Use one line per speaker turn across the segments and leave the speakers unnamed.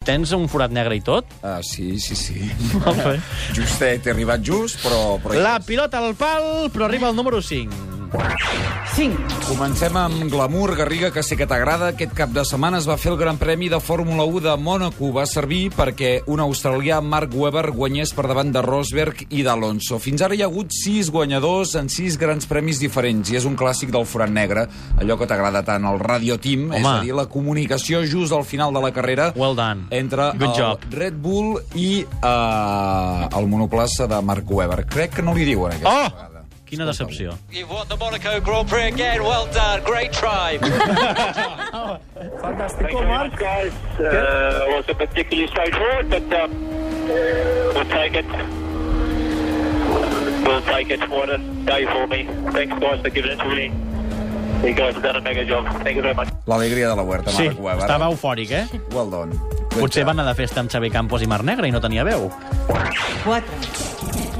tens un forat negre i tot?
Ah, sí, sí, sí.
Molt bé.
Justet, he arribat just, però... però hi
La
és.
pilota al pal, però arriba al número 5.
5.
Comencem amb Glamour, Garriga, que sé que t'agrada. Aquest cap de setmana es va fer el Gran Premi de Fórmula 1 de Mònaco. Va servir perquè un australià, Mark Webber, guanyés per davant de Rosberg i d'Alonso. Fins ara hi ha hagut sis guanyadors en sis grans premis diferents i és un clàssic del forat negre, allò que t'agrada tant, el Radio Team, és
Home.
a dir, la comunicació just al final de la carrera
Well done.
Mm. entre
Good
el
job.
Red Bull i eh, el monoplaça de Mark Webber. Crec que no li diuen aquesta
Oh!
vegada.
Quina decepció.
You've won the Monaco Grand Prix again. Well done. Great try.
Thank you very much, guys. Uh, it was a particularly straightforward, but uh, we'll take it. We'll take it. What a day for me. Thanks, guys, for giving it to me. You guys have done a mega job. Thank you very much.
L'alegria de la huerta,
Oh! Sí,
Mark Webber.
estava eufòric, eh?
Well done.
Potser va anar de festa amb Xavi Campos i Mar Negra i no tenia veu.
4.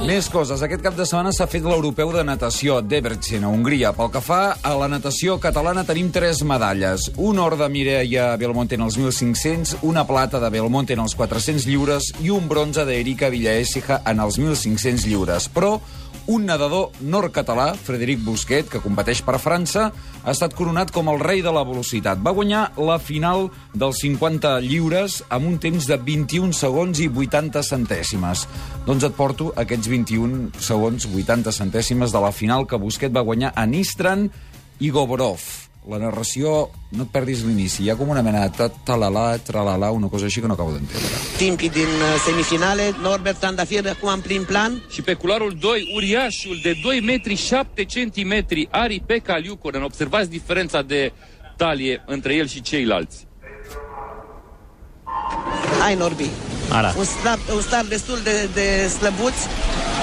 Més coses. Aquest cap de setmana s'ha fet l'europeu de natació a Debrecen, a Hongria. Pel que fa a la natació catalana tenim tres medalles. Un or de Mireia Belmonte en els 1.500, una plata de Belmonte en els 400 lliures i un bronze d'Erika Villaécija en els 1.500 lliures. Però un nedador nord-català, Frederic Busquet, que competeix per França, ha estat coronat com el rei de la velocitat. Va guanyar la final dels 50 lliures amb un temps de 21 segons i 80 centèsimes. Doncs et porto aquests 21 segons 80 centèsimes de la final que Busquet va guanyar a Nistran i Goborov. La narració, no et perdis l'inici, hi ha com una mena de ta- talalà, tralalà, una cosa així que no acabo d'entendre.
timpii din uh, semifinale, Norbert Trandafir acum în prim plan.
Și pe culoarul 2, uriașul de 2 metri 7 centimetri, Ari Pekka Liukonen. Observați diferența de talie între el și ceilalți.
Hai, Norbi.
Ara.
Un start, un start destul de, de slăbuț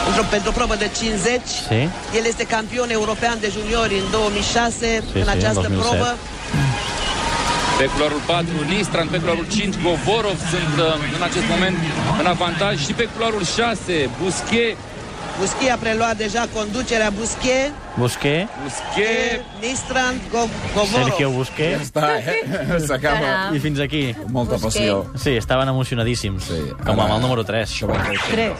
într-o, pentru o probă de 50.
Sí.
El este campion european de juniori în 2006
Sí,
în
sí, în
această
2007.
probă.
Pe culoarul 4, Nistran, pe culoarul 5, Govorov sunt uh, în acest moment în avantaj și pe culoarul 6, Busquet,
Buschie a preluat deja conducerea Buschie,
Busqué,
Busquet,
Nistran, Go-
Sergio
Govorov.
Busqué,
Està, eh? S'acaba.
i fins aquí.
Molta passió.
Sí, estaven emocionadíssims.
Sí,
Com
ara-
amb el número 3.
Això va fer.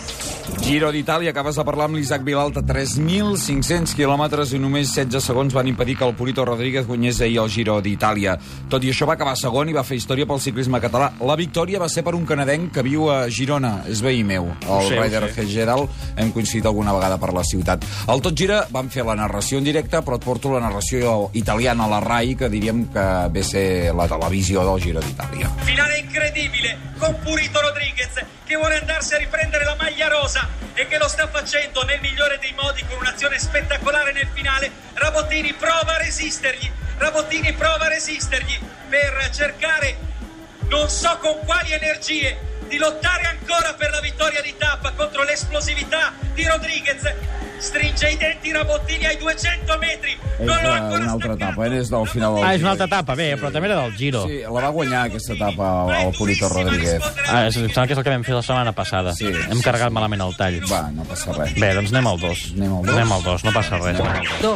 3.
Giro d'Itàlia, acabes de parlar amb l'Isaac Vilalta. 3.500 quilòmetres i només 16 segons van impedir que el Purito Rodríguez guanyés ahir el Giro d'Itàlia. Tot i això va acabar segon i va fer història pel ciclisme català. La victòria va ser per un canadenc que viu a Girona, és veí meu, el
sé, ho
Ryder
sé.
Hegedal. Hem coincidit alguna vegada per la ciutat. Al Tot Gira van fer la narració en directe, però et porto la narració italiana a la RAI, que diríem que ve a ser la televisió del Giro d'Itàlia.
Finale incredibile con Purito Rodriguez che vuole andarsi a riprendere la maglia rosa e che lo sta facendo nel migliore dei modi con un'azione spettacolare nel finale. Rabottini prova a resistergli, Rabottini prova a resistergli per cercare non so con quali energie di lottare ancora per la vittoria di tappa contro l'esplosività di Rodriguez. Stringe i denti Rabottini ai 200 metri,
És
non lo ha
eh,
ancora
una altra
staccato.
etapa, eh? és del final del
Ah, és
Giro.
una altra etapa, bé, però també era del Giro.
Sí, la va guanyar aquesta etapa el, el Purito Rodríguez.
Ah, és, em sembla que és el que vam fer la setmana passada.
Sí,
Hem
sí,
carregat
sí.
malament el tall.
Va, no passa res.
Bé, doncs anem al 2.
Anem al dos?
Anem al 2, no passa res.
2.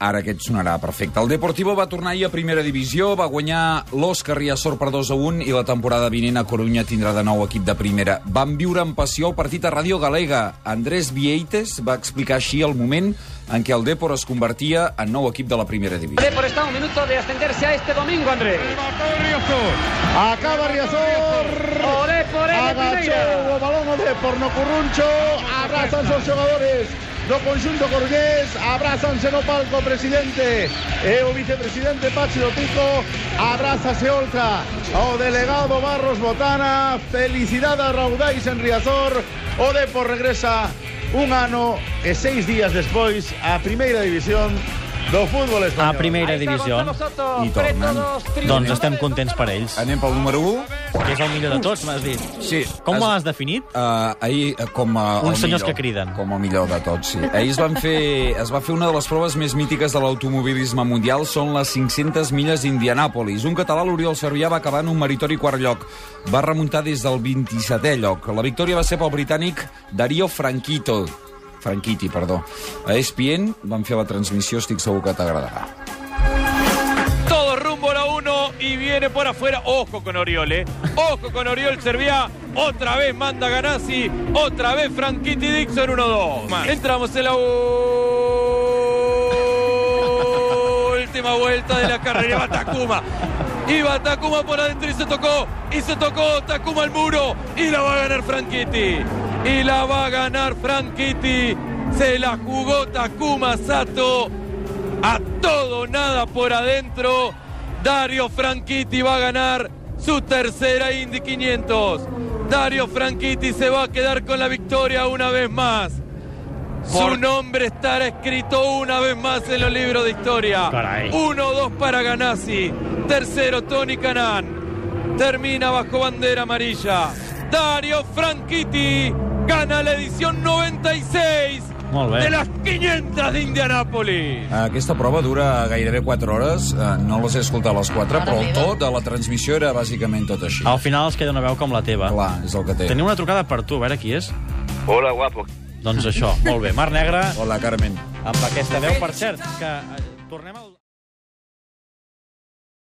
Ara aquest sonarà perfecte. El Deportivo va tornar ahir a primera divisió, va guanyar l'Òscar Riazor per 2 a 1 i la temporada vinent a Corunya tindrà de nou equip de primera. Van viure amb passió el partit a Ràdio Galega. Andrés Vieites va explicar així el moment en què el Depor es convertia en nou equip de la primera divisió.
Por está a un minuto de ascenderse a este domingo, Andrés.
Acaba Riazor.
Olé, por el
Agachó o balón o de porno curruncho. Abrazan sus jugadores. Do conjunto coruñés, abrazanse no palco presidente e o vicepresidente Pachi do Pico, abrazase Olca ao delegado Barros Botana, felicidade a Raudais en Riazor, o Depor regresa un ano e seis días despois a primeira división do fútbol
A
español.
primera divisió,
I tornen.
doncs estem contents per ells.
Anem pel número 1.
Que és el millor de tots, m'has dit.
Sí.
Com
es-
ho has definit?
Uh, ahir, eh, com a,
Uns senyors que criden.
Com el millor de tots, sí. Ahir es, van fer, es va fer una de les proves més mítiques de l'automobilisme mundial, són les 500 milles d'Indianàpolis. Un català, l'Oriol Servià, va acabar en un meritori quart lloc. Va remuntar des del 27è lloc. La victòria va ser pel britànic Dario Franquito. Franquiti, perdó. A E ESPN van fer la transmissió, estic segur que t'agradarà.
Todo rumbo a la 1 y
y viene por afuera. Ojo con Oriol, eh. Ojo con Oriol Serviá. Otra vez manda Ganassi. Otra vez Franchitti Dixon 1-2. Entramos en la última vuelta de la carrera. Va Takuma. Iba Takuma por adentro y se tocó. Y se tocó Takuma al muro. Y la va a ganar Franchitti. Y la va a ganar Franchitti. Se la jugó Takuma Sato. A todo o nada por adentro. Dario Franchitti va a ganar su tercera Indy 500. Dario Franchitti se va a quedar con la victoria una vez más. Su nombre estará escrito una vez más en los libros de historia.
Caray.
1-2 para Ganassi. Tercero, Tony Canan. Termina bajo bandera amarilla. Dario Franchitti gana la edición 96
Molt bé.
de las 500 de Indianápolis.
Aquesta prova dura gairebé 4 hores, eh, no les he escoltat a les 4, però el to de la transmissió era bàsicament tot així.
Al final es queda una veu com la teva.
Clar, és el que té.
Tenim una trucada per tu, a veure qui és.
Hola, guapo.
Doncs això, molt bé. Mar Negra...
Hola, Carmen.
Amb aquesta veu, per cert, que eh, tornem al...